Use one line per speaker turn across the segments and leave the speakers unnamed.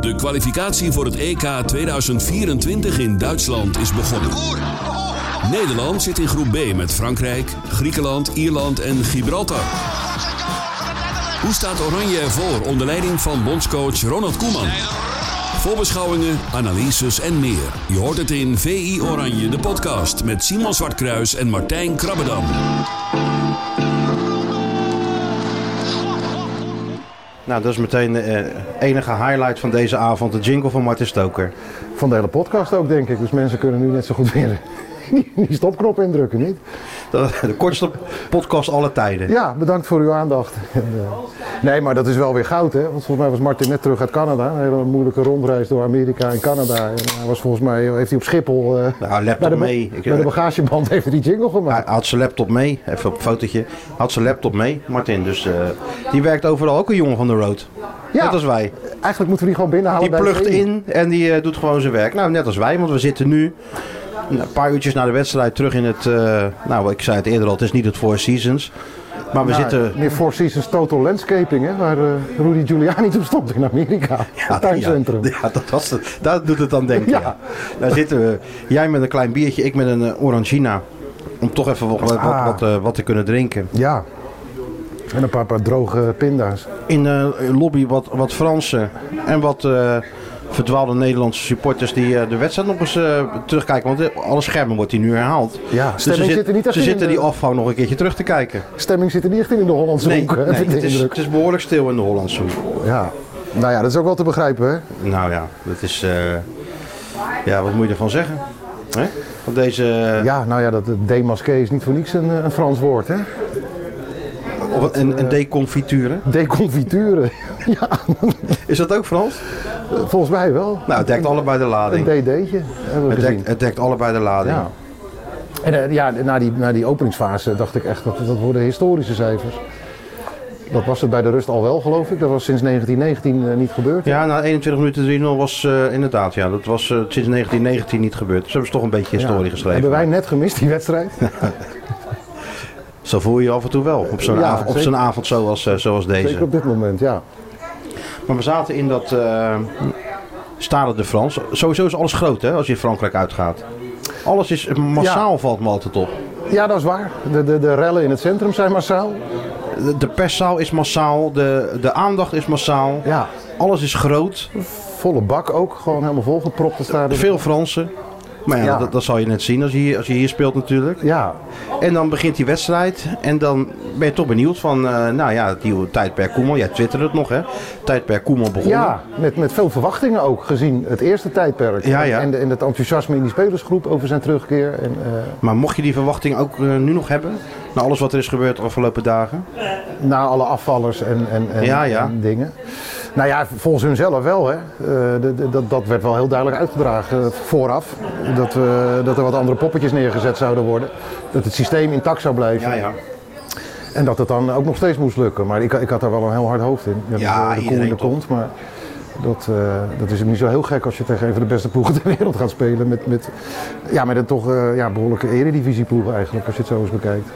De kwalificatie voor het E EK 2024 in Duitsland is begonnen. Nederland zit in groep B met Frankrijk, Griekenland, Ierland en Gibraltar. Hoe staat Oranje ervoor onder leiding van bondscoach Ronald Koeman? Voorbeschouwingen, analyses en meer. Je hoort het in VI Oranje, de podcast met Simon Zwartkruis en Martijn Krabbedam.
Nou, dat is meteen de enige highlight van deze avond, de jingle van Martin Stoker.
Van de hele podcast ook, denk ik. Dus mensen kunnen nu net zo goed weer die stopknop indrukken, niet?
Dat- De kortste podcast alle tijden.
Ja, bedankt voor uw aandacht. En, eh, nee, maar dat is wel weer goud, hè? Want volgens mij was Martin net terug uit Canada. Een hele moeilijke rondreis door Amerika en Canada. En hij was volgens mij, heeft hij op Schiphol... eh,
Nou, laptop
bij de, ba-
mee. Ik-
bij de bagageband heeft hij die jingle
Hij
gemaakt.
had zijn laptop mee, even op een fotootje. Had zijn laptop mee, Martin. Dus eh, die werkt overal ook een jongen van de road.
Ja.
Net als wij.
Eigenlijk moeten we die gewoon binnenhalen
Die
bij de E
plugt
training.
in en die eh, doet gewoon zijn werk. Nou, net als wij, want we zitten nu nou, een paar uurtjes na de wedstrijd terug in het. eh, nou, ik zei het eerder al, het is niet het Four Seasons. Maar we
Ja,
zitten.
Meer Four Seasons Total Landscaping, hè? Waar eh, Rudy Giuliani toen stond in Amerika.
Ja,
het tuincentrum.
Ja, ja, dat, was het. dat doet het dan denken. Ja.
Ja.
Daar zitten we. Jij met een klein biertje, ik met een eh, orangina. Om toch even wat, wat,
Ah.
wat, eh, wat te kunnen drinken.
Ja. En een paar, paar droge pinda's.
In de lobby wat, wat Fransen en wat eh, verdwaalde Nederlandse supporters die eh, de wedstrijd nog eens eh, terugkijken. Want eh, alle schermen wordt hier nu herhaald.
Ja,
dus ze,
stemming
zit-
zit er niet echt
ze
in eh,
zitten
de-
die afhang nog een keertje terug te kijken.
Stemming zit er niet echt in in de Hollandse
Nee,
hoek, hè,
nee,
heb ik de
het, is,
indruk.
het is behoorlijk stil in de Hollandse hoek.
Ja. Nou ja, dat is ook wel te begrijpen, hè?
Nou ja, dat is. eh, ja, wat moet je ervan zeggen? Hè? Op deze.
Ja, nou ja, dat dat démasqué is niet voor niks een, eh, een Frans woord, hè?
Of een,
eh,
een deconfiture.
Deconfiture. ja,
Is dat ook Frans?
volgens mij wel.
Nou, het dekt allebei de
Een
lading.
DD'tje hebben we
Het
gezien.
dekt, het dekt allebei de lading.
Ja. En eh, ja, na die, na die openingsfase dacht ik echt, dat, dat worden historische cijfers. Dat was het bij de rust al wel, geloof ik. Dat was sinds 1919 eh, niet gebeurd.
Ja, na 21 minuten 3-0 was eh, inderdaad, ja, dat was eh, sinds 1919 niet gebeurd. Dus hebben ze toch een beetje historie
Ja.
geschreven.
Hebben wij net gemist, die wedstrijd?
Zo Dus voel je je af en toe wel, op zo'n
Ja,
avond, op
zeker.
zo'n avond zoals, eh, zoals deze.
Zeker op dit moment, ja.
Maar we zaten in dat eh Stade de France. Sowieso is alles groot, hè, als je in Frankrijk uitgaat. Alles is massaal, valt me altijd op.
Ja, dat is waar. De, de, de rellen in het centrum zijn massaal.
De, de perszaal is massaal, de, de aandacht is massaal.
Ja.
Alles is groot.
Volle bak ook, gewoon helemaal volgepropt te staan.
Veel Fransen. Maar ja,
Ja.
Dat, dat zal je net zien als je, hier- als je hier speelt natuurlijk.
Ja,
En dan begint die wedstrijd. En dan ben je toch benieuwd van, eh, nou ja, die tijdperk Koeman. Jij twitterde het nog, hè? Tijdperk Koeman begonnen.
ja met, met veel verwachtingen ook gezien het eerste tijdperk.
Ja, ja.
En, de- en het enthousiasme in die spelersgroep over zijn terugkeer. En, eh,
Maar mocht je die verwachting ook eh, nu nog hebben? Na alles wat er is gebeurd de afgelopen dagen?
na alle afvallers en, en, en,
Ja, ja.
en dingen. Nou ja, volgens hun zelf wel. Hè. Eh, de- de- dat, dat werd wel heel duidelijk uitgedragen eh, vooraf. Dat, we, dat er wat andere poppetjes neergezet zouden worden. Dat het systeem intact zou blijven.
ja.
En dat het dan ook nog steeds moest lukken. Maar ik, ik had daar wel een heel hard hoofd in. Ja,
Ja,
dat, eh, de koel in
iedereen
de
toch.
kont. Maar dat, eh, dat is niet zo heel gek als je tegen een van de beste ploegen ter wereld gaat spelen. Met, met, ja, met een toch eh, ja, behoorlijke eredivisieploeg eigenlijk, als je het zo eens bekijkt.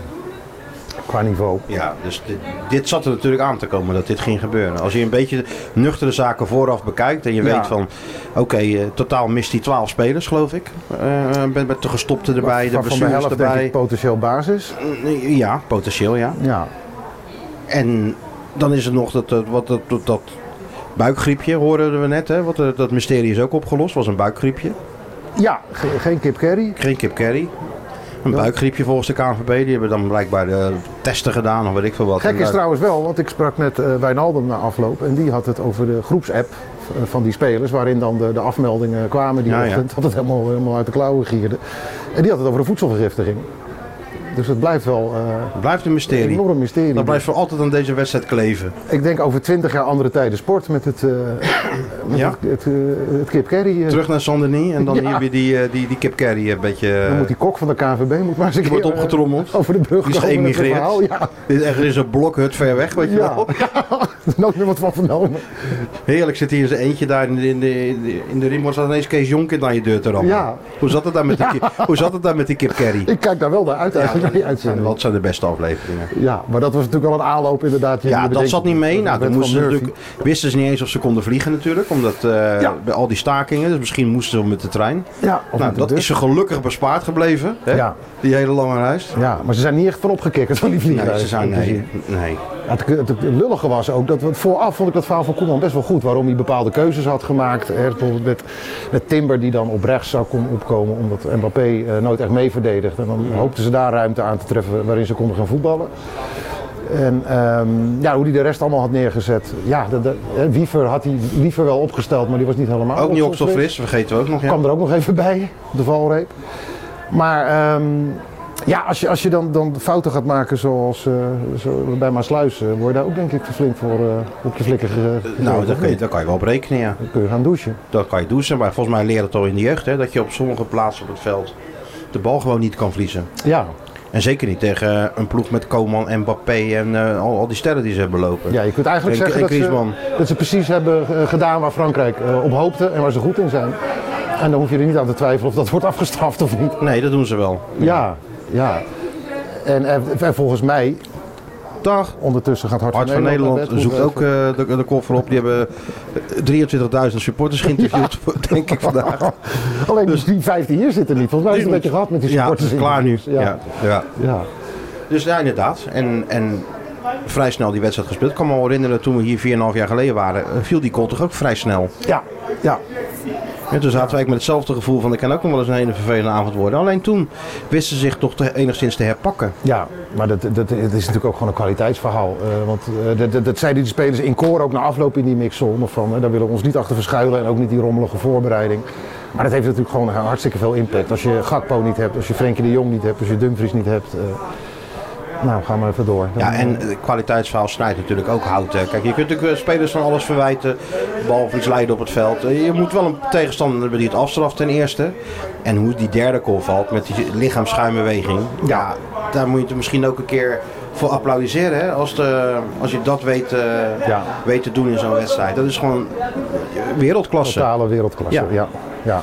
Qua niveau.
Ja, dus dit, dit zat er natuurlijk aan te komen dat dit ging gebeuren. Als je een beetje nuchtere zaken vooraf bekijkt en je
Ja.
weet van, oké, eh, totaal mist hij 12 spelers, geloof ik. Eh, eh, met, met de gestopte erbij, de
Waarvan de
blessures
helft denk
erbij.
ik potentieel basis.
Ja, potentieel, ja.
Ja,
En dan is er nog dat, eh, wat, dat, dat, dat buikgriepje, hoorden we net. Hè? Wat, eh, dat mysterie is ook opgelost, was een buikgriepje.
ja ge- geen Kip Carry.
Geen kip carry. Een buikgriepje volgens de KNVB. Die hebben dan blijkbaar eh, testen gedaan of weet ik veel wat.
Gek
En
is
daar-
trouwens wel, want ik sprak met eh, Wijnaldum na afloop. En die had het over de groepsapp eh, van die spelers. Waarin dan de, de afmeldingen kwamen die
Ja, ja.
ochtend. Dat het helemaal, helemaal uit de klauwen gierde. En die had het over de voedselvergiftiging. Dus het blijft wel eh,
Het blijft een
een
mysterie.
enorm mysterie.
Dat blijft voor altijd aan deze wedstrijd kleven.
Ik denk over twintig jaar andere tijden sport met het, eh, met
Ja.
het, het, eh, het Kip Carry. eh.
Terug naar Sandeny en dan
Ja.
hier weer die, eh, die, die kip carry een beetje... eh,
Dan moet die kok van de KNVB moet maar eens een
die wordt
keer, eh,
opgetrommeld.
over de brug
Die is
komen met het
geëmigreerd.
verhaal. Ja,
Dit is echt er is een blokhut ver weg, weet je
ja.
wel.
nooit meer wat van vernomen.
Heerlijk zit hier in zijn eentje daar in de, in de, in de- in de rimor. Zat ineens Kees Jonker naar je deur te rammen.
Ja.
Hoe zat het daar met die, ki- hoe zat het daar met die kip carry?
Ik kijk daar wel naar uit
Ja,
eigenlijk. die
En
uitzending.
wat zijn de beste afleveringen?
Ja, maar dat was natuurlijk al een aanloop inderdaad. die
Ja,
je
dat
bedenkt.
zat niet mee. Nou,
werd
toen
van
moesten ze
Murphy.
natuurlijk, wisten ze niet eens of ze konden vliegen natuurlijk, omdat eh,
Ja.
bij al die stakingen. Dus misschien moesten ze met de trein.
Ja, of met
nou,
de
dat
bus.
is ze gelukkig bespaard gebleven, hè?
Ja.
die hele lange reis.
Ja, maar ze zijn niet echt van opgekikkerd van die vliegtuigen.
Nee, ze zijn, nee, nee.
Het, het, het lullige was ook dat we- vooraf vond ik dat verhaal van Koeman best wel goed. Waarom hij bepaalde keuzes had gemaakt. Er, bijvoorbeeld met, met Timber die dan op rechts zou kon opkomen omdat Mbappé eh, nooit echt mee verdedigt. En dan hoopten ze daar ruimte aan te treffen waarin ze konden gaan voetballen. En ehm, ja, hoe hij de rest allemaal had neergezet. Ja, de, de, hè, Wiever had hij liever wel opgesteld, maar die was niet helemaal
Ook niet
opstelfris.
okselfris, vergeten we ook nog. Ja.
kwam er ook nog even bij, op de valreep. Maar ehm, ja, als je, als je dan, dan fouten gaat maken zoals eh, zo bij Maasluis, eh, word je daar ook denk ik te flink voor eh, op je flikker ge-
Nou,
gegooid,
daar
of
kun, je,
niet?
daar kan je wel op rekenen, ja.
Dan kun je gaan douchen.
Dat kan je douchen, maar volgens mij leert het al in de jeugd, hè, dat je op sommige plaatsen op het veld de bal gewoon niet kan verliezen.
Ja,
En zeker niet tegen eh, een ploeg met Koeman en Mbappé en eh, al, al die sterren die ze hebben lopen.
ja je kunt eigenlijk
En-
zeggen
en
dat ze,
Griezmann.
dat ze precies hebben eh, gedaan waar Frankrijk eh, op hoopte en waar ze goed in zijn. En dan hoef je er niet aan te twijfelen of dat wordt afgestraft of niet.
Nee, dat doen ze wel.
Ja, ja. En, en, en volgens mij,
Dag!
ondertussen gaat Hart,
Hart van Nederland
naar bed.
zoekt
Hoeven
ook eh, de, de koffer op. Die hebben eh, 23.000 supporters geïnterviewd, denk ik vandaag.
Alleen dus die 15 hier zitten niet. Volgens mij is het een beetje gehad met die
Ja,
supporters. in de
klaar nu.
bus.
Ja. Ja.
ja.
Dus ja, inderdaad. En, en vrij snel die wedstrijd gespeeld. Ik kan me wel herinneren, toen we hier 4,5 jaar geleden waren, eh, viel die goal toch ook vrij snel.
Ja, ja.
En toen zaten we eigenlijk met hetzelfde gevoel van, ik kan ook nog wel eens een hele vervelende avond worden. Alleen toen wisten ze zich toch te- enigszins te herpakken.
Ja, maar dat, dat, het is natuurlijk ook gewoon een kwaliteitsverhaal. Eh, want eh, dat, dat, dat zeiden die spelers in koor ook na afloop in die mixzone. Van, eh, daar willen we ons niet achter verschuilen en ook niet die rommelige voorbereiding. Maar dat heeft natuurlijk gewoon eh, hartstikke veel impact. Als je Gakpo niet hebt, als je Frenkie de Jong niet hebt, als je Dumfries niet hebt. eh, nou, ga maar even door.
Ja, en het kwaliteitsverhaal snijdt natuurlijk ook hout. hè. Kijk, je kunt natuurlijk eh, spelers van alles verwijten, behalve iets leiden op het veld. Eh, Je moet wel een tegenstander hebben die het afstraft ten eerste. En hoe die derde goal valt met die lichaamsschuimbeweging. Ja, daar moet je het misschien ook een keer voor applaudisseren. Hè? Als, de, als je dat weet, eh,
Ja.
weet te doen in zo'n wedstrijd. Dat is gewoon wereldklasse.
Totale wereldklasse.
Ja.
Ja. Ja. Ja.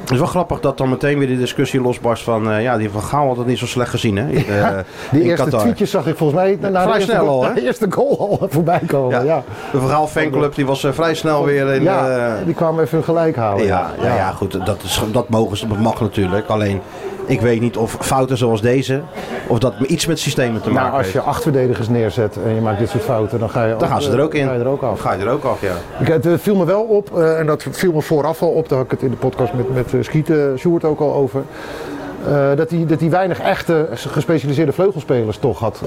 Het is wel grappig dat dan meteen weer die discussie losbarst van... eh, ja, die van Gaal had dat niet zo slecht gezien hè, in, eh,
Die
in
eerste
Qatar.
tweetjes zag ik volgens mij na, na
Vrij
de, eerste,
snel al,
na
hè?
de eerste goal al voorbij komen.
Ja.
ja.
De verhaal fanclub die was eh, vrij snel weer in.
Ja,
eh,
die kwamen even gelijk halen.
ja, ja, ja, goed, dat, is, dat mogen ze, dat mag natuurlijk. Alleen, ik weet niet of fouten zoals deze, of dat iets met systemen te
Maar
maken
Nou, als je
heeft.
acht verdedigers neerzet en je maakt dit soort fouten, dan ga je, eh,
Dan gaan ze er ook in.
Ga je er ook af.
Ga je er ook af, ja.
Ik, het eh, viel me wel op, eh, en dat viel me vooraf al op, daar had ik het in de podcast met, met eh, Schieten Sjoerd ook al over. eh, dat, hij, dat hij weinig echte gespecialiseerde vleugelspelers toch had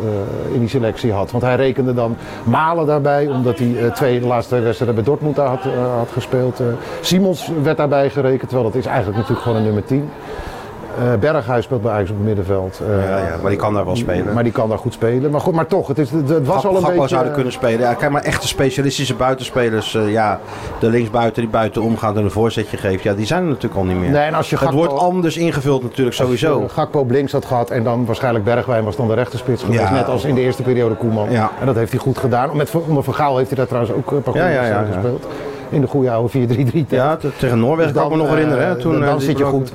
eh, in die selectie had. Want hij rekende dan Malen daarbij, omdat hij eh, twee, de laatste twee wedstrijden bij Dortmund daar had, eh, had gespeeld. Eh, Simons werd daarbij gerekend, terwijl dat is eigenlijk natuurlijk gewoon een nummer 10. Eh, Berghuis speelt bij Ajax op het middenveld. Eh,
Ja, ja, maar die kan daar wel spelen.
Maar die kan daar goed spelen. Maar, goed, maar toch, het, is, het, het was
Gakpo
al een beetje... eh,
zouden kunnen spelen. Ja, kijk maar, echte specialistische buitenspelers. eh, ja, de linksbuiten die buiten omgaat en een voorzetje geeft. Ja, die zijn er natuurlijk al niet meer.
Nee, en als je
het
Gakpo-
wordt anders ingevuld natuurlijk sowieso.
Eh, Gakpo op links had gehad en dan waarschijnlijk Bergwijn was dan de rechterspits geweest.
Ja.
Net als in de eerste periode Koeman.
Ja.
En dat heeft hij goed gedaan. Met, onder Van Gaal heeft hij daar trouwens ook eh, een paar goede
Ja, ja, ja, ja.
wedstrijden gespeeld. In de goede oude 4-3-3 tijd.
Ja, te- tegen Noorwegen
Dus
kan ik me
dan,
nog herinneren. Hè?
eh,
Toen,
dan-
eh,
dan
die
zit je
blok-
goed.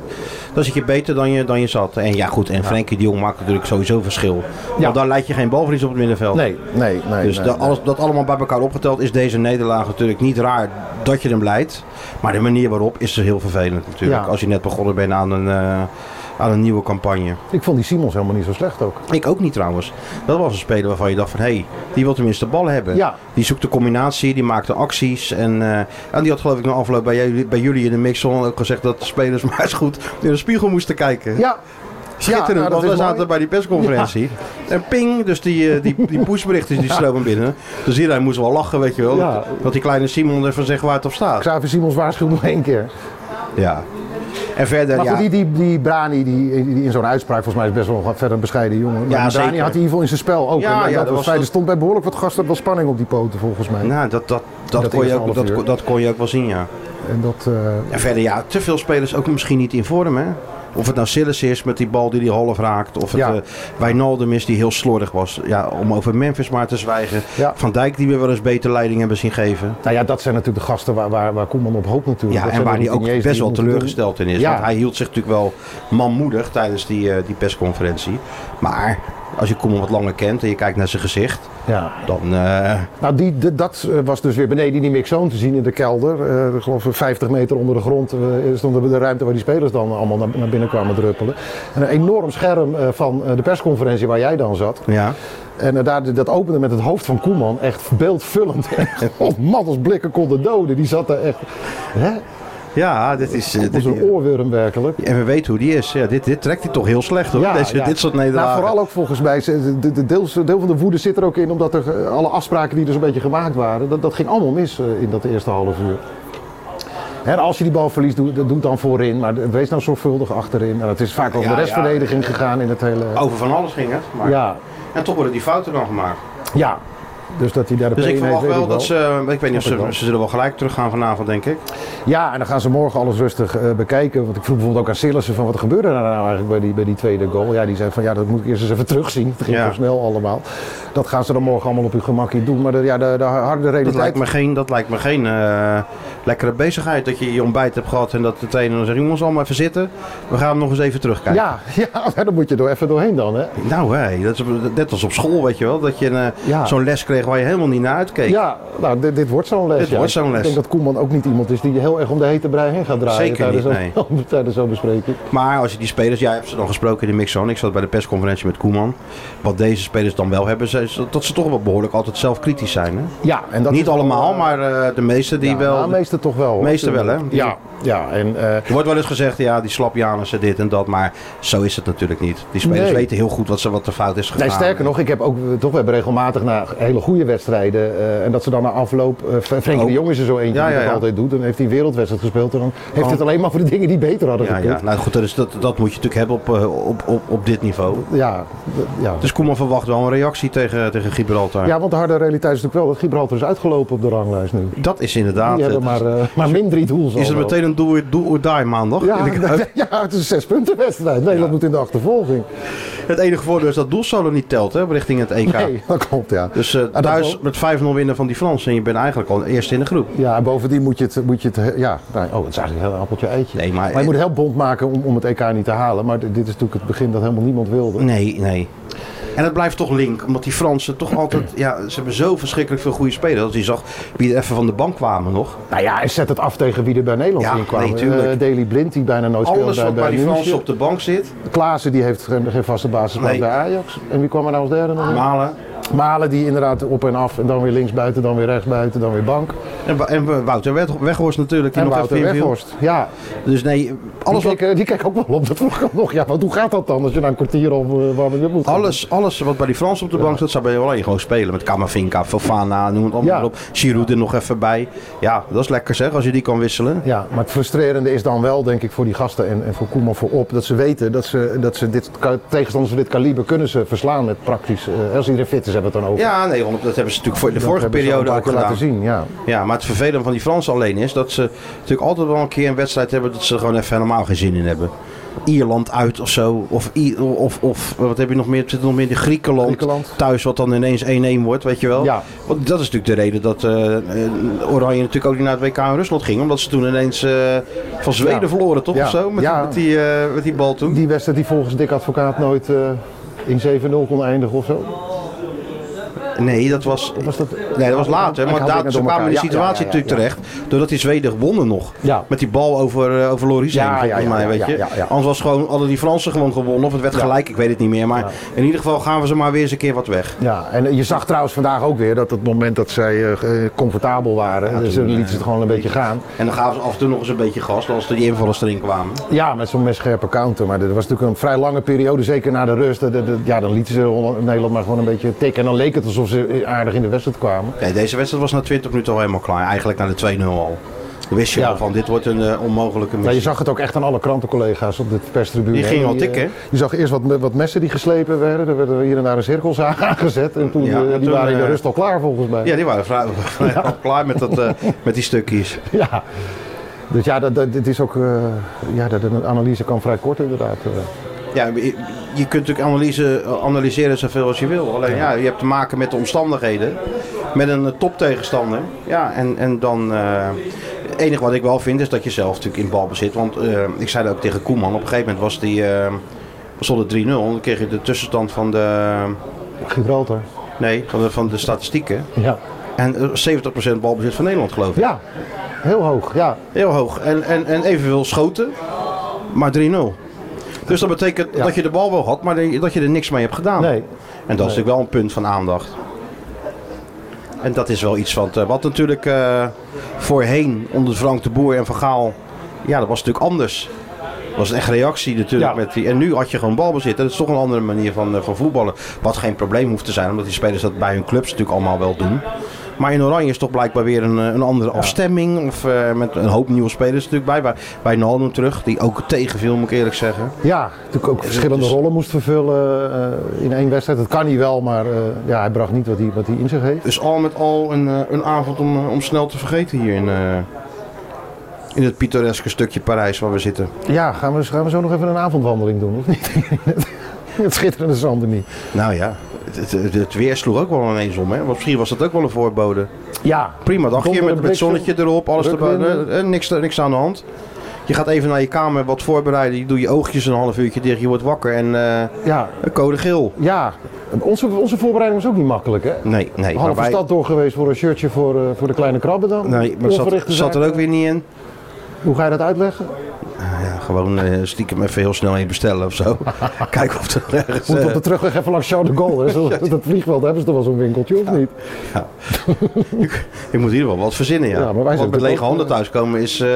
Dan zit je beter dan je, dan je zat. En ja, goed. En Frenkie de Jong maakt natuurlijk sowieso verschil.
Ja.
Want daar leid je geen balverlies op het middenveld.
Nee, nee, nee.
Dus
nee,
da-
nee.
alles, dat allemaal bij elkaar opgeteld is deze nederlaag natuurlijk niet raar dat je hem leidt. Maar de manier waarop is heel vervelend natuurlijk.
Ja.
Als je net begonnen bent aan een, eh, aan een nieuwe campagne.
Ik vond die Simons helemaal niet zo slecht ook.
Ik ook niet trouwens. Dat was een speler waarvan je dacht van, hé, hey, die wil tenminste de bal hebben.
Ja.
Die zoekt de combinatie, die maakt de acties. En, eh, en die had geloof ik na afloop bij jullie, bij jullie in de mixzone ook gezegd dat de spelers maar eens goed in de spiegel moesten kijken.
Ja,
Schitterend,
Ja, nou, dat
want
is
we
mooi.
zaten bij die persconferentie. En ping, dus die, eh, die, die pushberichten die slopen binnen. Dus iedereen moest wel lachen, weet je wel.
Ja.
Dat, dat die kleine Simon ervan zegt waar het op staat.
Xavier Simons waarschuwt nog één keer.
Ja. En verder,
Maar
ja.
goed, die, die, die Brani die, die in zo'n uitspraak volgens mij is best wel een verder een bescheiden jongen. Maar
Ja,
die Brani
zeker.
had hij in ieder geval in zijn spel ook.
Ja,
En eh,
ja,
dat
dat
was
was
fijn.
dat-
Er stond bij behoorlijk wat gasten wel spanning op die poten volgens mij.
Nou, dat, dat, dat,
Dat
kon je
eerste
ook,
half
dat,
uur.
kon- dat kon je ook wel zien, ja.
En dat, eh,
En verder, ja, te veel spelers ook misschien niet in vorm, hè? Of het nou Sillis is met die bal die hij half raakt. Of het
Ja.
eh, Wijnaldum is die heel slordig was. Ja, om over Memphis maar te zwijgen.
Ja.
Van Dijk die we wel eens beter leiding hebben zien geven.
Nou ja, dat zijn natuurlijk de gasten waar, waar, waar Koeman op hoopt natuurlijk.
Ja,
Dat
en
zijn
waar
de
hij ook
routiniers
best
die
wel
moeten-
teleurgesteld in is.
Ja.
Want hij hield zich natuurlijk wel manmoedig tijdens die, eh, die persconferentie. Maar als je Koeman wat langer kent en je kijkt naar zijn gezicht,
Ja.
dan... eh,
Nou, die, de- dat eh, was dus weer beneden in die mixzone te zien in de kelder. Eh, ik geloof ik 50 meter onder de grond eh, stonden de ruimte waar die spelers dan allemaal naar, naar binnen kwamen druppelen. En een enorm scherm eh, van eh, de persconferentie waar jij dan zat.
ja.
En eh, daar, dat opende met het hoofd van Koeman. Echt beeldvullend. God, man als blikken konden doden. Die zat daar echt. Hè?
ja, dit is... eh,
Dat was
dit-
een oorworm werkelijk.
en we weten hoe die is. Ja, dit, dit trekt hij toch heel slecht hoor, Deze, dit soort nederlagen.
Nou, vooral ook volgens mij, ze- de, de deels, deel van de woede zit er ook in, omdat er eh, alle afspraken die er zo'n beetje gemaakt waren, dat, dat ging allemaal mis eh, in dat eerste half uur. Hè, als je die bal verliest, doe, doe het dan voorin, maar de- wees nou zorgvuldig achterin. En het is vaak over
Ja,
de
ja. Oh.
restverdediging gegaan in het hele...
Over van alles ging het. Maar...
Ja,
En toch worden die fouten dan gemaakt.
ja. Dus dat hij daar de
Dus
P1
ik
heeft,
verwacht
weet
wel
ik
dat ze. eh, Ik weet niet of
Snap ik
ze.
wel.
Ze zullen wel gelijk teruggaan vanavond, denk ik.
Ja, en dan gaan ze morgen alles rustig eh, bekijken. Want ik vroeg bijvoorbeeld ook aan Sillissen van wat gebeurde er nou eigenlijk bij die, bij die tweede goal. Ja, die zei van ja, dat moet ik eerst eens even terugzien. Het ging
Ja.
zo snel allemaal. Dat gaan ze dan morgen allemaal op hun gemakje doen. Maar de, ja, de, de harde
Dat
realiteit...
lijkt me geen, dat lijkt me geen eh, lekkere bezigheid. Dat je je ontbijt hebt gehad en dat de trainer dan zegt: jongens, allemaal even zitten. We gaan hem nog eens even terugkijken.
ja, ja, dan moet je er even doorheen dan. Hè?
Nou, hé, dat is net als op school, weet je wel. Dat je eh,
Ja.
zo'n les kreeg waar je helemaal niet naar uitkeek.
Ja, nou, dit, dit wordt zo'n les.
Dit
ja.
wordt zo'n les.
Ik denk dat Koeman ook niet iemand is die heel erg om de hete brei heen gaat draaien.
Zeker
tijdens
niet,
zo'n- tijdens zo'n bespreking.
Maar als je die spelers, jij hebt ze dan gesproken in de mixzone. Ik zat bij de persconferentie met Koeman. Wat deze spelers dan wel hebben, is dat ze toch wel behoorlijk altijd zelf kritisch zijn. Hè?
Ja, en dat
Niet
is wel,
allemaal,
eh,
maar eh, de meesten die
ja,
wel.
nou, meeste toch wel. hoor.
Meeste wel, hè? Die-
Ja, ja en... eh,
Er wordt wel eens gezegd, ja, die slapjanussen dit en dat, maar zo is het natuurlijk niet. Die spelers
Nee.
weten heel goed wat, ze, wat de fout is gegaan.
Nee, sterker nog, ik heb ook eh, toch, we hebben regelmatig na hele goede wedstrijden. eh, en dat ze dan na afloop. eh, Fr- Frenkie
Oh.
de Jong is er zo eentje
Ja,
die
ja,
dat
ja.
altijd doet. Dan heeft hij een wereldwedstrijd gespeeld. En dan heeft
Oh.
het alleen maar voor de dingen die beter hadden
Ja,
gekund.
ja. Nou goed, dat, is, dat, dat moet je natuurlijk hebben op, eh, op, op, op dit niveau.
Ja, d- ja.
Dus Koeman verwacht wel een reactie tegen, tegen Gibraltar.
ja, want de harde realiteit is natuurlijk wel dat Gibraltar is uitgelopen op de ranglijst nu.
Dat is inderdaad...
Die hebben
het.
maar, eh, maar min drie doels.
is het
al wel.
meteen een do or, do or die maandag?
Ja,
In de
nee,
Kuip?
ja, het is een zespuntenwedstrijd. Nee, dat moet in de achtervolging.
Het enige voordeel is dat doelsolo niet telt hè, richting het EK.
Nee, dat klopt, ja.
Dus eh,
dat
thuis
wel.
met 5-0 winnen van die Fransen en je bent eigenlijk al eerst in de groep.
Ja, en bovendien moet je het. Moet je het ja, nou, oh, het is eigenlijk een heel appeltje eitje.
Nee, maar-
je moet het heel bond maken om, om het EK niet te halen. Maar dit dit is natuurlijk het begin dat helemaal niemand wilde.
Nee, nee. En het blijft toch link, omdat die Fransen toch altijd... Ja, ze hebben zo verschrikkelijk veel goede spelers. Als je zag wie er even van de bank kwamen nog.
Nou ja, en zet het af tegen wie er bij Nederland
Ja,
in kwam.
nee, tuurlijk.
Eh, Daley Blind, die bijna nooit
Alles
speelde
wat bij
bij,
die
bij
Fransen op
München.
de bank zit.
Klaassen, die heeft geen, geen vaste basis
Nee. Ah,
bij Ajax. En wie kwam er nou als derde nog in?
Malen.
Malen, die inderdaad op en af. En dan weer links buiten, dan weer rechts buiten, dan weer bank.
En, Wa- en Wa- Wouter Weg- Weghorst natuurlijk. Die
en
nog
Wouter
even inviel.
Weghorst. Ja,
Dus nee,
alles
alles
die,
wat,
keek, eh, die keek ook wel op de vlog nog. Ja, want hoe gaat dat dan als je na een kwartier of uh, warming up moet? gaan?
alles, alles wat bij die Fransen op de bank zat, zou bij Oranje gewoon spelen. Met Camavinga, Fofana, noem het allemaal
Ja.
op. Giroud er nog even bij. Ja, dat is lekker zeg, als je die kan wisselen.
Ja, maar het frustrerende is dan wel, denk ik, voor die gasten en, en voor Koeman voorop, dat ze weten dat ze, dat ze dit, ka- tegenstanders van dit kaliber kunnen ze verslaan met praktisch, eh, als iedereen fit is, hebben we het dan over.
Ja, nee, want dat hebben ze natuurlijk voor de
Dat
vorige
hebben ze
periode
al een
ook
paar
gedaan.
keer laten zien, ja.
Ja, maar het vervelende van die Fransen alleen is dat ze natuurlijk altijd wel een keer een wedstrijd hebben dat ze er gewoon even helemaal geen zin in hebben. Ierland uit of zo. Of, I- of, of wat heb je nog meer? Zit er nog meer? De Griekenland,
Griekenland.
thuis, wat dan ineens 1-1 wordt, weet je wel.
Ja.
Want dat is natuurlijk de reden dat eh, eh, Oranje natuurlijk ook niet naar het WK in Rusland ging. Omdat ze toen ineens eh, van Zweden
Ja.
verloren, toch?
Ja.
Of zo? Met,
Ja.
met, die, eh, met die bal toen.
Die wedstrijd die volgens Dick Advocaat nooit eh, in 7-0 kon eindigen of zo.
Nee, dat was,
Was dat...
Nee, dat was later.
Ik
Maar
haal
daar,
dingen
ze
door
kwamen in die
elkaar. Ja, ja,
situatie
ja, ja,
natuurlijk terecht. Doordat die Zweden wonnen nog.
Ja.
Met die bal over, eh, over Loris
Ja,
heen, volgens
ja, ja,
mij,
ja,
weet
ja,
je.
ja, ja.
Anders was gewoon, hadden die Fransen gewoon gewonnen. Of het werd gelijk, ik weet het niet meer. Maar in ieder geval gaven ze maar weer eens een keer wat weg.
Ja, en eh, je zag trouwens vandaag ook weer dat het moment dat zij eh, eh, comfortabel waren, dus ze
toen, eh,
lieten ze het gewoon een beetje gaan.
En dan gaven ze af en toe nog eens een beetje gas. Als er die invallers erin kwamen.
Ja, met zo'n messcherpe counter. Maar dat was natuurlijk een vrij lange periode, zeker na de rust. Dat- dat- dat- ja, dan lieten ze Holland- Nederland maar gewoon een beetje tikken. En dan leek het alsof ze aardig in de wedstrijd kwamen.
Nee, deze wedstrijd was na 20 minuten al helemaal klaar. Eigenlijk naar de 2-0 al. Dan wist je
Ja.
al van, dit wordt een eh, onmogelijke
Ja,
missie.
je zag het ook echt aan alle krantencollega's op de perstribune.
Die gingen al
Die, eh,
tikken.
Je zag eerst wat, wat messen die geslepen werden. Er werden hier en daar een cirkelzaag aangezet. En toen,
Ja,
eh,
en
die
toen,
waren in de
eh,
rust al klaar volgens mij.
Ja, die waren vrij, vrij al klaar met, dat, eh, met die stukjes.
Ja. Dus ja, dat, dat, dit is ook, eh, ja, dat, een analyse kan vrij kort inderdaad. eh.
Ja, je, je kunt natuurlijk analyse, analyseren zoveel als je wil. Alleen ja, je hebt te maken met de omstandigheden. Met een eh, toptegenstander. Ja, en, en dan... eh, het enige wat ik wel vind is dat je zelf natuurlijk in balbezit. Want eh, ik zei dat ook tegen Koeman. Op een gegeven moment was die... eh stond het 3-0. Dan kreeg je de tussenstand van de...
Gibraltar.
Nee, van de, van de statistieken.
Ja.
En eh, 70% balbezit van Nederland geloof ik.
Ja, heel hoog. Ja,
Heel hoog. En, en, en evenveel schoten, maar 3-0. Dus dat betekent
Ja.
dat je de bal wel had, maar dat je er niks mee hebt gedaan.
nee.
En dat is natuurlijk wel een punt van aandacht. En dat is wel iets wat, eh, wat natuurlijk eh, voorheen onder Frank de Boer en Van Gaal... Ja, dat was natuurlijk anders. Dat was een echt reactie natuurlijk.
Ja.
Met die, en nu had je gewoon balbezit. En dat is toch een andere manier van, eh, van voetballen. Wat geen probleem hoeft te zijn, omdat die spelers dat bij hun clubs natuurlijk allemaal wel doen. Maar in Oranje is toch blijkbaar weer een, eh, een andere afstemming. Of eh, met een hoop nieuwe spelers natuurlijk bij. Bij, bij Naldo terug, die ook tegenviel moet ik eerlijk zeggen.
Ja, natuurlijk ook verschillende
dus-
rollen moest vervullen eh, in één wedstrijd. Dat kan hij wel, maar eh, ja, hij bracht niet wat hij, wat hij in zich heeft.
Dus al met al een, eh, een avond om, eh, om snel te vergeten hier in, eh, in het pittoreske stukje Parijs waar we zitten.
Ja, gaan we, gaan we zo nog even een avondwandeling doen, of niet? Het schitterende Zandernie.
Nou ja, het, het, het weer sloeg ook wel ineens om. Hè? Want misschien was dat ook wel een voorbode.
Ja,
Prima dagje
Donderen,
met, met
bliksem,
zonnetje erop, alles erbij.
rukwinden.
eh, eh, niks, niks aan de hand. Je gaat even naar je kamer wat voorbereiden. Je doet je oogjes een half uurtje dicht. Je wordt wakker en eh,
ja,
code geel.
ja. Onze, onze voorbereiding was ook niet makkelijk, hè?
Nee, nee.
Half
maar
de
wij-
stad door geweest voor een shirtje voor, eh, voor de kleine krabben dan.
Nee, maar zat,
Onverrichte
zat er Eh,
zaken.
ook weer niet in.
Hoe ga je dat uitleggen?
Ja, gewoon eh, stiekem even heel snel heen bestellen of zo. Kijken of er ergens...
Moet
eh,
op de terugweg even langs Charles de Gaulle. Hè? Zo- Dat vliegveld hebben ze toch wel zo'n winkeltje, of niet?
Ik moet in ieder geval wat verzinnen, ja.
Ja, maar wij
Want
zijn
met
natuurlijk
lege
ook,
handen
eh,
thuiskomen is... eh,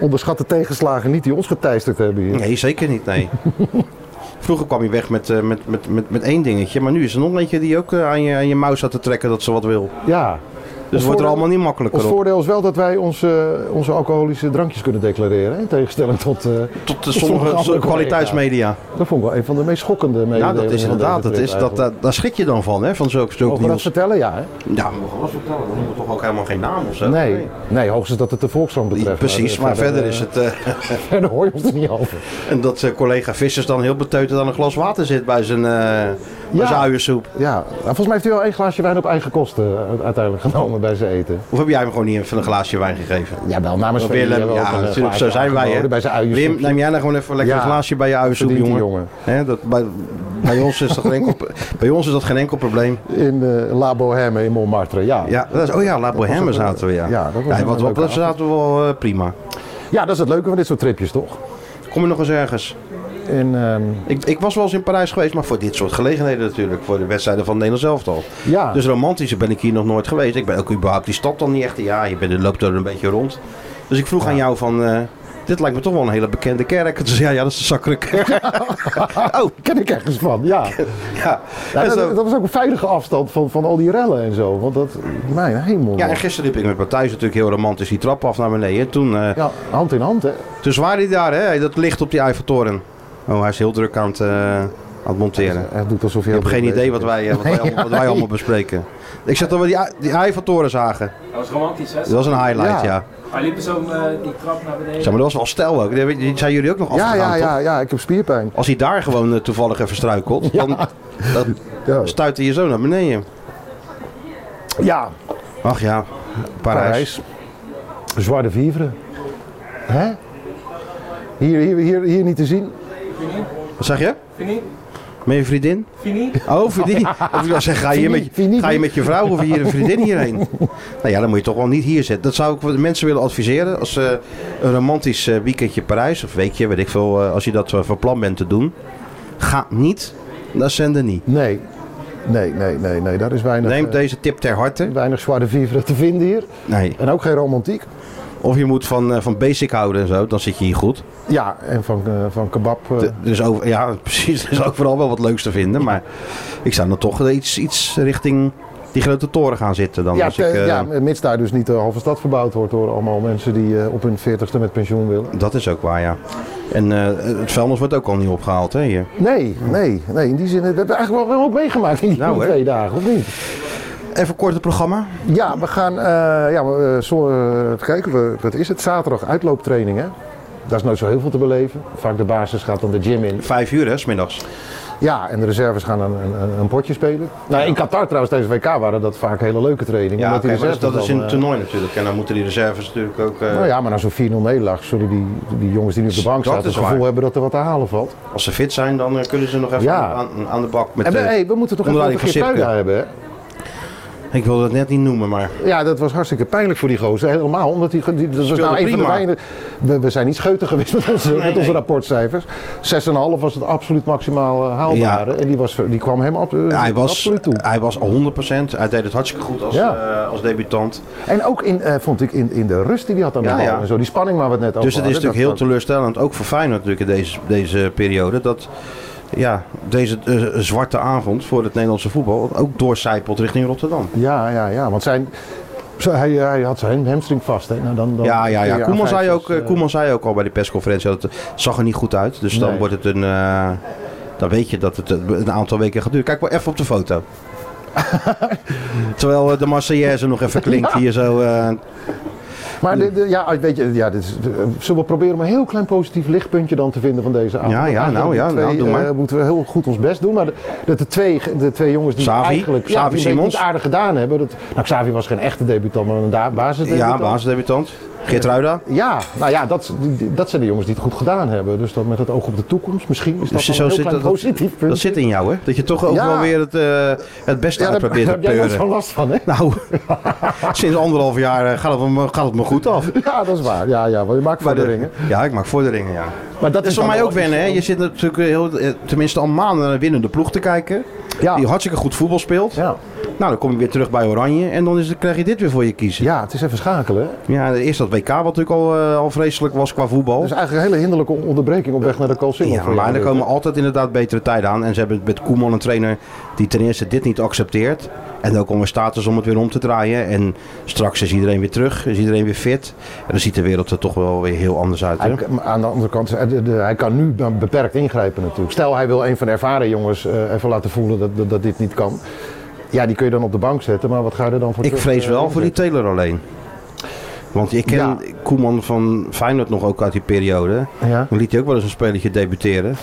Onderschat de tegenslagen niet die ons geteisterd hebben hier.
nee, zeker niet, nee. Vroeger kwam je weg met, eh, met, met, met, met één dingetje. Maar nu is er nog eentje die ook eh, aan, je, aan je mouw staat te trekken dat ze wat wil.
Ja.
Dus het wordt er
voordeel-
allemaal niet makkelijker
Ons
op.
voordeel is wel dat wij onze, onze alcoholische drankjes kunnen declareren. hè, In tegenstelling tot. eh,
Tot de
tot
sommige
andere
zo- kwaliteitsmedia.
Dat vond ik wel een van de meest schokkende
Nou,
mededelingen
dat is
van
inderdaad.
deze
Dat
trip
is, dat,
eigenlijk.
daar- daar schrik je dan van, hè? Van zulke, zulke
Mogen we dat
nieuws.
vertellen? Ja. Hè?
Ja, mogen we dat vertellen? Dan moeten we toch ook helemaal geen naam of zo?
Nee. nee, hoogstens dat het de Volkskrant betreft.
Precies, maar verder is het... eh,
Verder hoor je ons er niet over.
en dat eh, collega Vissers dan heel beteuterd aan een glas water zit bij zijn, eh bij
Ja.
zijn uiensoep.
Ja, nou, volgens mij heeft hij wel één glaasje wijn op eigen kosten eh, uiteindelijk genomen bij zijn eten.
Of heb jij hem gewoon niet even een glaasje wijn gegeven?
Ja, wel namens
Willem,
Ferry hebben we ook
ja,
een, eh,
natuurlijk, zo
glaasje
zijn wij. Hè.
aangeboden Bij zijn
Wim, neem jij nou gewoon even lekker een
Ja,
glaasje bij je uiensoep,
verdient die
jongen.
jongen.
Hè, dat, bij, bij, ons is dat geen enkel, bij ons is dat geen enkel probleem.
In eh, La Bohème in Montmartre, ja.
Ja, dat is, oh ja, La Bohème
ook een-
zaten we, ja.
ja, dat was een
wat, wat,
leuke
dat zaten we wel eh, prima.
Ja, dat is het leuke van dit soort tripjes, toch?
Kom je nog eens ergens?
En, ehm,
Ik, ik was wel eens in Parijs geweest, maar voor dit soort gelegenheden natuurlijk. Voor de wedstrijden van Nederland zelf al.
ja.
Dus romantischer ben ik hier nog nooit geweest. Ik ben ook überhaupt die stad dan niet echt. Ja, je bent, loopt er een beetje rond. Dus ik vroeg aan jou van... eh, dit lijkt me toch wel een hele bekende kerk. Toen zei ja, ja, dat is de Sacre Kerk. oh,
Ken ik ergens van, ja.
ja.
Ja,
En
dat,
zo-
dat was ook een veilige afstand van, van al die rellen en zo. Want dat, mijn hemel.
Ja, en gisteren liep ik met Matthijs natuurlijk heel romantisch die trap af naar beneden. Toen, eh
Ja, hand in hand, hè.
toen zwaar hij daar, hè, dat licht op die Eiffeltoren. Oh, hij is heel druk aan het, eh, aan het monteren.
Hij eh, doet alsof
Je
hij...
hebt geen idee wat wij, eh, wat wij, allemaal, wat wij allemaal bespreken. Ik zeg dat we die, I- die Eiffeltoren zagen.
Dat was romantisch, hè?
Dat was een highlight, ja.
Ja.
Hij liep zo eh, die trap naar beneden.
Zeg, maar dat was wel stijl ook. Die- Die zijn jullie ook nog
Ja,
afgegaan,
ja,
toch?
ja, ja, ik heb spierpijn.
Als hij daar gewoon eh, toevallig even struikelt, dan dan
Ja,
stuit hij je zo naar beneden.
ja
Ach ja, Parijs.
Parijs. Zwarte Vivre. Hè? Hier, hier, hier, hier niet te zien.
Fini?
Wat zeg je?
Fini?
Met je vriendin?
Fini?
Oh, vriendin. Of ik wil zeggen, ga je, hier met,
Vind je niet-
ga je met je vrouw of hier een vriendin hierheen? Nou ja, dan moet je toch wel niet hier zitten. Dat zou ik wel de mensen willen adviseren. Als ze een romantisch eh, weekendje Parijs, of weekje, weet ik veel, eh, als je dat eh, van plan bent te doen. Ga niet naar Saint-Denis.
Nee. Nee, nee, nee, nee. Daar is weinig,
Neem
eh,
deze tip ter harte.
weinig Zwarte Vivre te vinden hier.
Nee.
En ook geen romantiek.
Of je moet van, eh, van basic houden en zo, dan zit je hier goed.
Ja, en van, eh, van kebab. eh,
Er is over, ja, precies. Er is ook vooral wel wat leuks te vinden. Maar ik zou dan toch iets, iets richting die grote toren gaan zitten. Dan
ja,
als ik,
te-
eh,
ja, mits daar dus niet de halve stad verbouwd wordt door allemaal mensen die eh, op hun 40ste met pensioen willen.
Dat is ook waar, ja. En eh, het vuilnis wordt ook al niet opgehaald, hè? Hier.
Nee, nee, nee. In die zin, dat hebben we eigenlijk wel, wel ook meegemaakt in die
Nou, hè.
twee dagen, of niet?
Even kort het programma.
Ja, we gaan. eh, ja, we, eh, zo, eh, even kijken, we, wat is het? Zaterdag uitlooptraining, hè? Daar is nooit zo heel veel te beleven. Vaak de basis gaat dan de gym in.
Vijf uur hè, smiddags.
Ja, en de reserves gaan een, een, een- een potje spelen. Nou, in Qatar trouwens, tijdens het WK waren dat vaak hele leuke trainingen.
Ja,
omdat die
oké, maar dat,
reserves
dat is
dan,
in het
eh,
toernooi natuurlijk. En dan moeten die reserves natuurlijk ook... eh,
Nou ja, maar na zo'n 4-0 nederlaag zullen die, die jongens die nu op de bank
Dat
staan het
is
gevoel
waar.
hebben dat er wat te halen valt.
Als ze fit zijn, dan eh, kunnen ze nog even
Ja.
aan, aan de bak. Met,
En we,
eh,
hey, we moeten toch even
onder
over
leiding van
Geertruida hebben, hè?
ik wil dat net niet noemen, maar...
Ja, dat was hartstikke pijnlijk voor die gozer. Helemaal, omdat die, die- dat was nou een van de
prima.
weinig- We, we zijn niet scheuter geweest met onze, met onze
nee.
rapportcijfers. 6,5 was het absoluut maximaal eh, haalbare.
Ja.
En die, was, die kwam hem ab- eh,
Hij was,
absoluut toe.
hij was 100%. Hij deed het hartstikke goed als,
Ja.
eh, als debutant.
En ook in, eh, vond ik in, in de rust die hij had aan de
Ja,
bal
ja.
en zo. Die spanning waar we het net over
Dus het is
hadden,
natuurlijk heel
dat-
teleurstellend, ook voor Feyenoord natuurlijk in deze, deze periode, dat ja, deze eh, zwarte avond voor het Nederlandse voetbal ook doorcijpelt richting Rotterdam.
Ja, ja, ja. Want zijn, zo- hij, eh, hij had zijn hamstring vast. Hè. Nou, dan, dan
Ja, ja, ja.
aan
Koeman,
vijf,
zei
zes,
ook, eh,
eh,
Koeman zei ook al bij die persconferentie dat het zag er niet goed uit. Dus dan
Nee.
wordt het een... eh, dan weet je dat het een een aantal weken gaat duren. Kijk maar even op de foto. Terwijl eh, de Marseillaise nog even klinkt hier zo. eh,
Maar dit- dit- ja, weet je, ja, dit is, eh, zullen we proberen om een heel klein positief lichtpuntje dan te vinden van deze avond?
Ja, ja,
Want
nou
die
ja,
twee,
nou, doe maar.
eh, moeten we heel goed ons best doen. Maar de- dat de twee, de twee jongens die
Xavi,
eigenlijk
Xavi
die het
Simons.
niet aardig gedaan hebben. Dat, nou, Xavi was geen echte debutant, maar een da- basisdebutant.
ja, basisdebutant. Geert Ruida.
Ja, nou ja, dat, dat zijn de jongens die het goed gedaan hebben. Dus dat met het oog op de toekomst, misschien is dat
Dus
dan
zo
een heel
zit
klein
dat-
positief punt.
Dat zit in jou, hè? Dat je toch ook
Ja.
wel weer het, eh, het beste
ja,
uit
daar,
probeert te
heb jij nooit
peuren.
zo'n last van, hè?
Nou, sinds anderhalf jaar eh, gaat het, me, gaat het me goed af.
Ja, dat is waar. Ja, ja, want je maakt
Nou. Maar de-
vorderingen.
Ja, ik maak vorderingen, ja.
Maar
Dat is voor
dan
mij
wel
ook wennen, hè?
iets-
Je zit natuurlijk heel, eh, tenminste al maanden naar een winnende ploeg te kijken.
Ja.
Die hartstikke goed voetbal speelt.
Ja.
Nou, dan kom je weer terug bij Oranje en dan is het, krijg je dit weer voor je kiezen.
ja, het is even schakelen. hè?
Ja, eerst dat WK wat natuurlijk al, eh, al vreselijk was qua voetbal.
Dat is eigenlijk een hele hinderlijke onderbreking op weg naar de Calcilla.
Ja, maar er komen altijd inderdaad betere tijden aan. En ze hebben met Koeman een trainer die ten eerste dit niet accepteert. En ook onder status om het weer om te draaien. En straks is iedereen weer terug, is iedereen weer fit. En dan ziet de wereld er toch wel weer heel anders uit. Hè?
Hij, maar aan de andere kant, eh, de- de- hij kan nu be- beperkt ingrijpen natuurlijk. Stel hij wil een van de ervaren jongens eh, even laten voelen dat, dat, dat dit niet kan. Ja, die kun je dan op de bank zetten, maar wat ga je er dan voor
Ik
terug,
vrees
eh,
wel voor die Taylor alleen. Want ik ken
Ja.
Koeman van Feyenoord nog ook uit die periode.
Ja.
Dan liet hij ook wel eens een spelertje debuteren.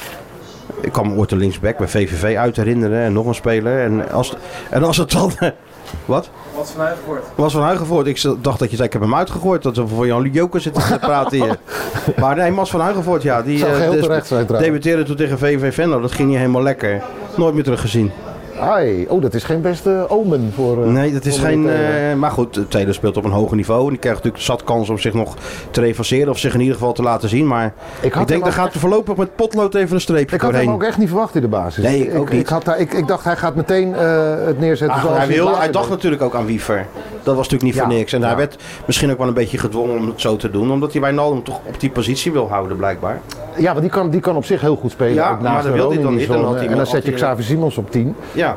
Ik kan me ooit een linksback bij VVV uit herinneren. En nog een speler. En als, en als het dan... Wat?
Wat vanuit wordt.
was van Huigenvoort. Ik dacht dat je zei, ik heb hem uitgegooid. Dat ze voor Jan Joker zitten te praten hier. Maar nee, Mas van Huigenvoort, ja. Die
Zou
eh,
geheel
des-
terecht zijn trouwens.
debuteerde toen tegen VV Venlo. Dat ging niet helemaal lekker. Nooit meer teruggezien.
Ai, oh, dat is geen beste omen voor... eh,
Nee, dat is
voor
geen...
Taylor.
eh, maar goed, Taylor speelt op een hoger niveau. En die krijgt natuurlijk zat kans om zich nog te revanceren. Of zich in ieder geval te laten zien. Maar ik,
had
denk,
hem
daar gaat er voorlopig met potlood even een streepje
ik had hem
doorheen.
ook echt niet verwacht in de basis.
Nee, ik ook
ik,
niet.
had daar, ik, ik dacht, hij gaat meteen eh, het neerzetten
Ah,
zoals
hij,
het
wil,
later
hij dacht
deed.
natuurlijk ook aan Wiever. Dat was natuurlijk niet
Ja,
voor niks. En
ja.
hij werd misschien ook wel een beetje gedwongen om het zo te doen. Omdat hij Wijnaldum toch op die positie wil houden, blijkbaar.
Ja, want die kan, die kan op zich heel goed spelen.
Ja,
ook
maar
naast
dat wil hij
Ronnie
dan
die
niet. Dan
zone.
had hij-
en dan
had
zet je
hij-
Xavi Simons op 10.
Ja,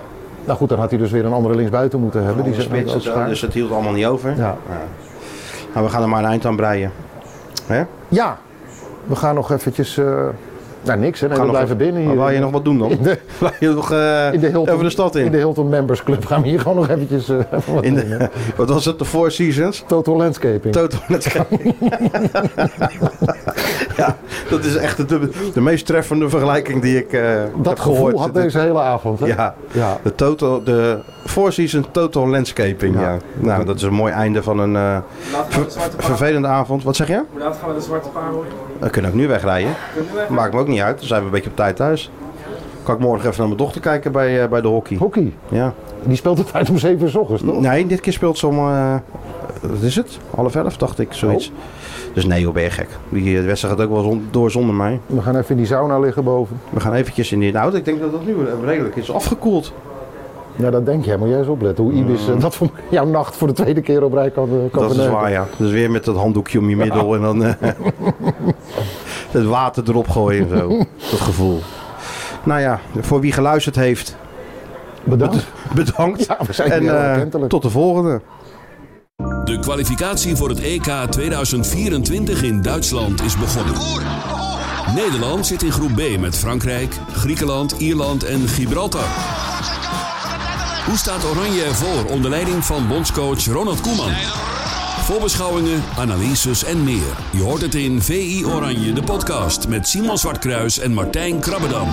Nou goed, dan had hij dus weer een andere linksbuiten moeten hebben. Die
die
zit
spits,
ook
dus,
schaar.
dus het hield allemaal niet over.
Ja.
Nou, we gaan er maar een eind aan breien. Hè? We
ja, we gaan nog eventjes... eh nou, niks hè. Nee, we
nog
blijven
even-
binnen
Maar
hier.
Wil je nog wat doen dan?
In de,
Wil je nog eh,
in de Hilton,
over de stad in?
In de Hilton Members Club gaan we hier gewoon nog eventjes eh, even wat
In
doen,
de-
hè.
wat was het? De Four Seasons?
Total Landscaping.
Toto net Ja, dat is echt de, de meest treffende vergelijking die ik eh, heb
dat gevoel
gehoord.
had deze hele avond. Hè?
Ja,
Ja.
De, total, de Four Seasons Total Landscaping. Ja.
Ja.
Nou, dat is een mooi einde van een eh,
Hoe laat gaan we de zwarte paar-
vervelende avond. Wat zeg je?
Hoe laat gaan we de zwarte paar horen?
We kunnen ook nu wegrijden.
Kunnen we?
Maakt me ook niet uit. Dan zijn we een beetje op tijd thuis. Kan ik morgen even naar mijn dochter kijken bij, eh, bij de hockey.
Hockey.
Ja.
Die speelt het uit om 7 uur 's ochtends, toch?
Nee, dit keer speelt ze om... eh, wat is het? Half elf, dacht ik. Zoiets.
Oh.
Dus nee, joh, ben je gek. Die, eh, De wedstrijd gaat ook wel zon- door zonder mij.
We gaan even in die sauna liggen boven.
We gaan eventjes in die auto. Ik denk dat dat nu redelijk is afgekoeld.
Ja, dat denk jij. Moet jij eens opletten hoe Ibis eh, dat voor jouw nacht voor de tweede keer op rij kan, eh, kan
Mm. Dat is
verneuken.
waar, ja. Dus weer met dat handdoekje om je middel en dan eh, het water erop gooien en zo. Dat gevoel. Nou ja, voor wie geluisterd heeft,
Bedankt.
bedankt.
Ja, we zijn
en
heel
eh,
erkentelijk.
tot de volgende.
De kwalificatie voor het E EK 2024 in Duitsland is begonnen. Nederland zit in groep B met Frankrijk, Griekenland, Ierland en Gibraltar. Hoe staat Oranje ervoor onder leiding van bondscoach Ronald Koeman? Voorbeschouwingen, analyses en meer. Je hoort het in VI Oranje, de podcast met Simon Zwartkruis en Martijn Krabbedam.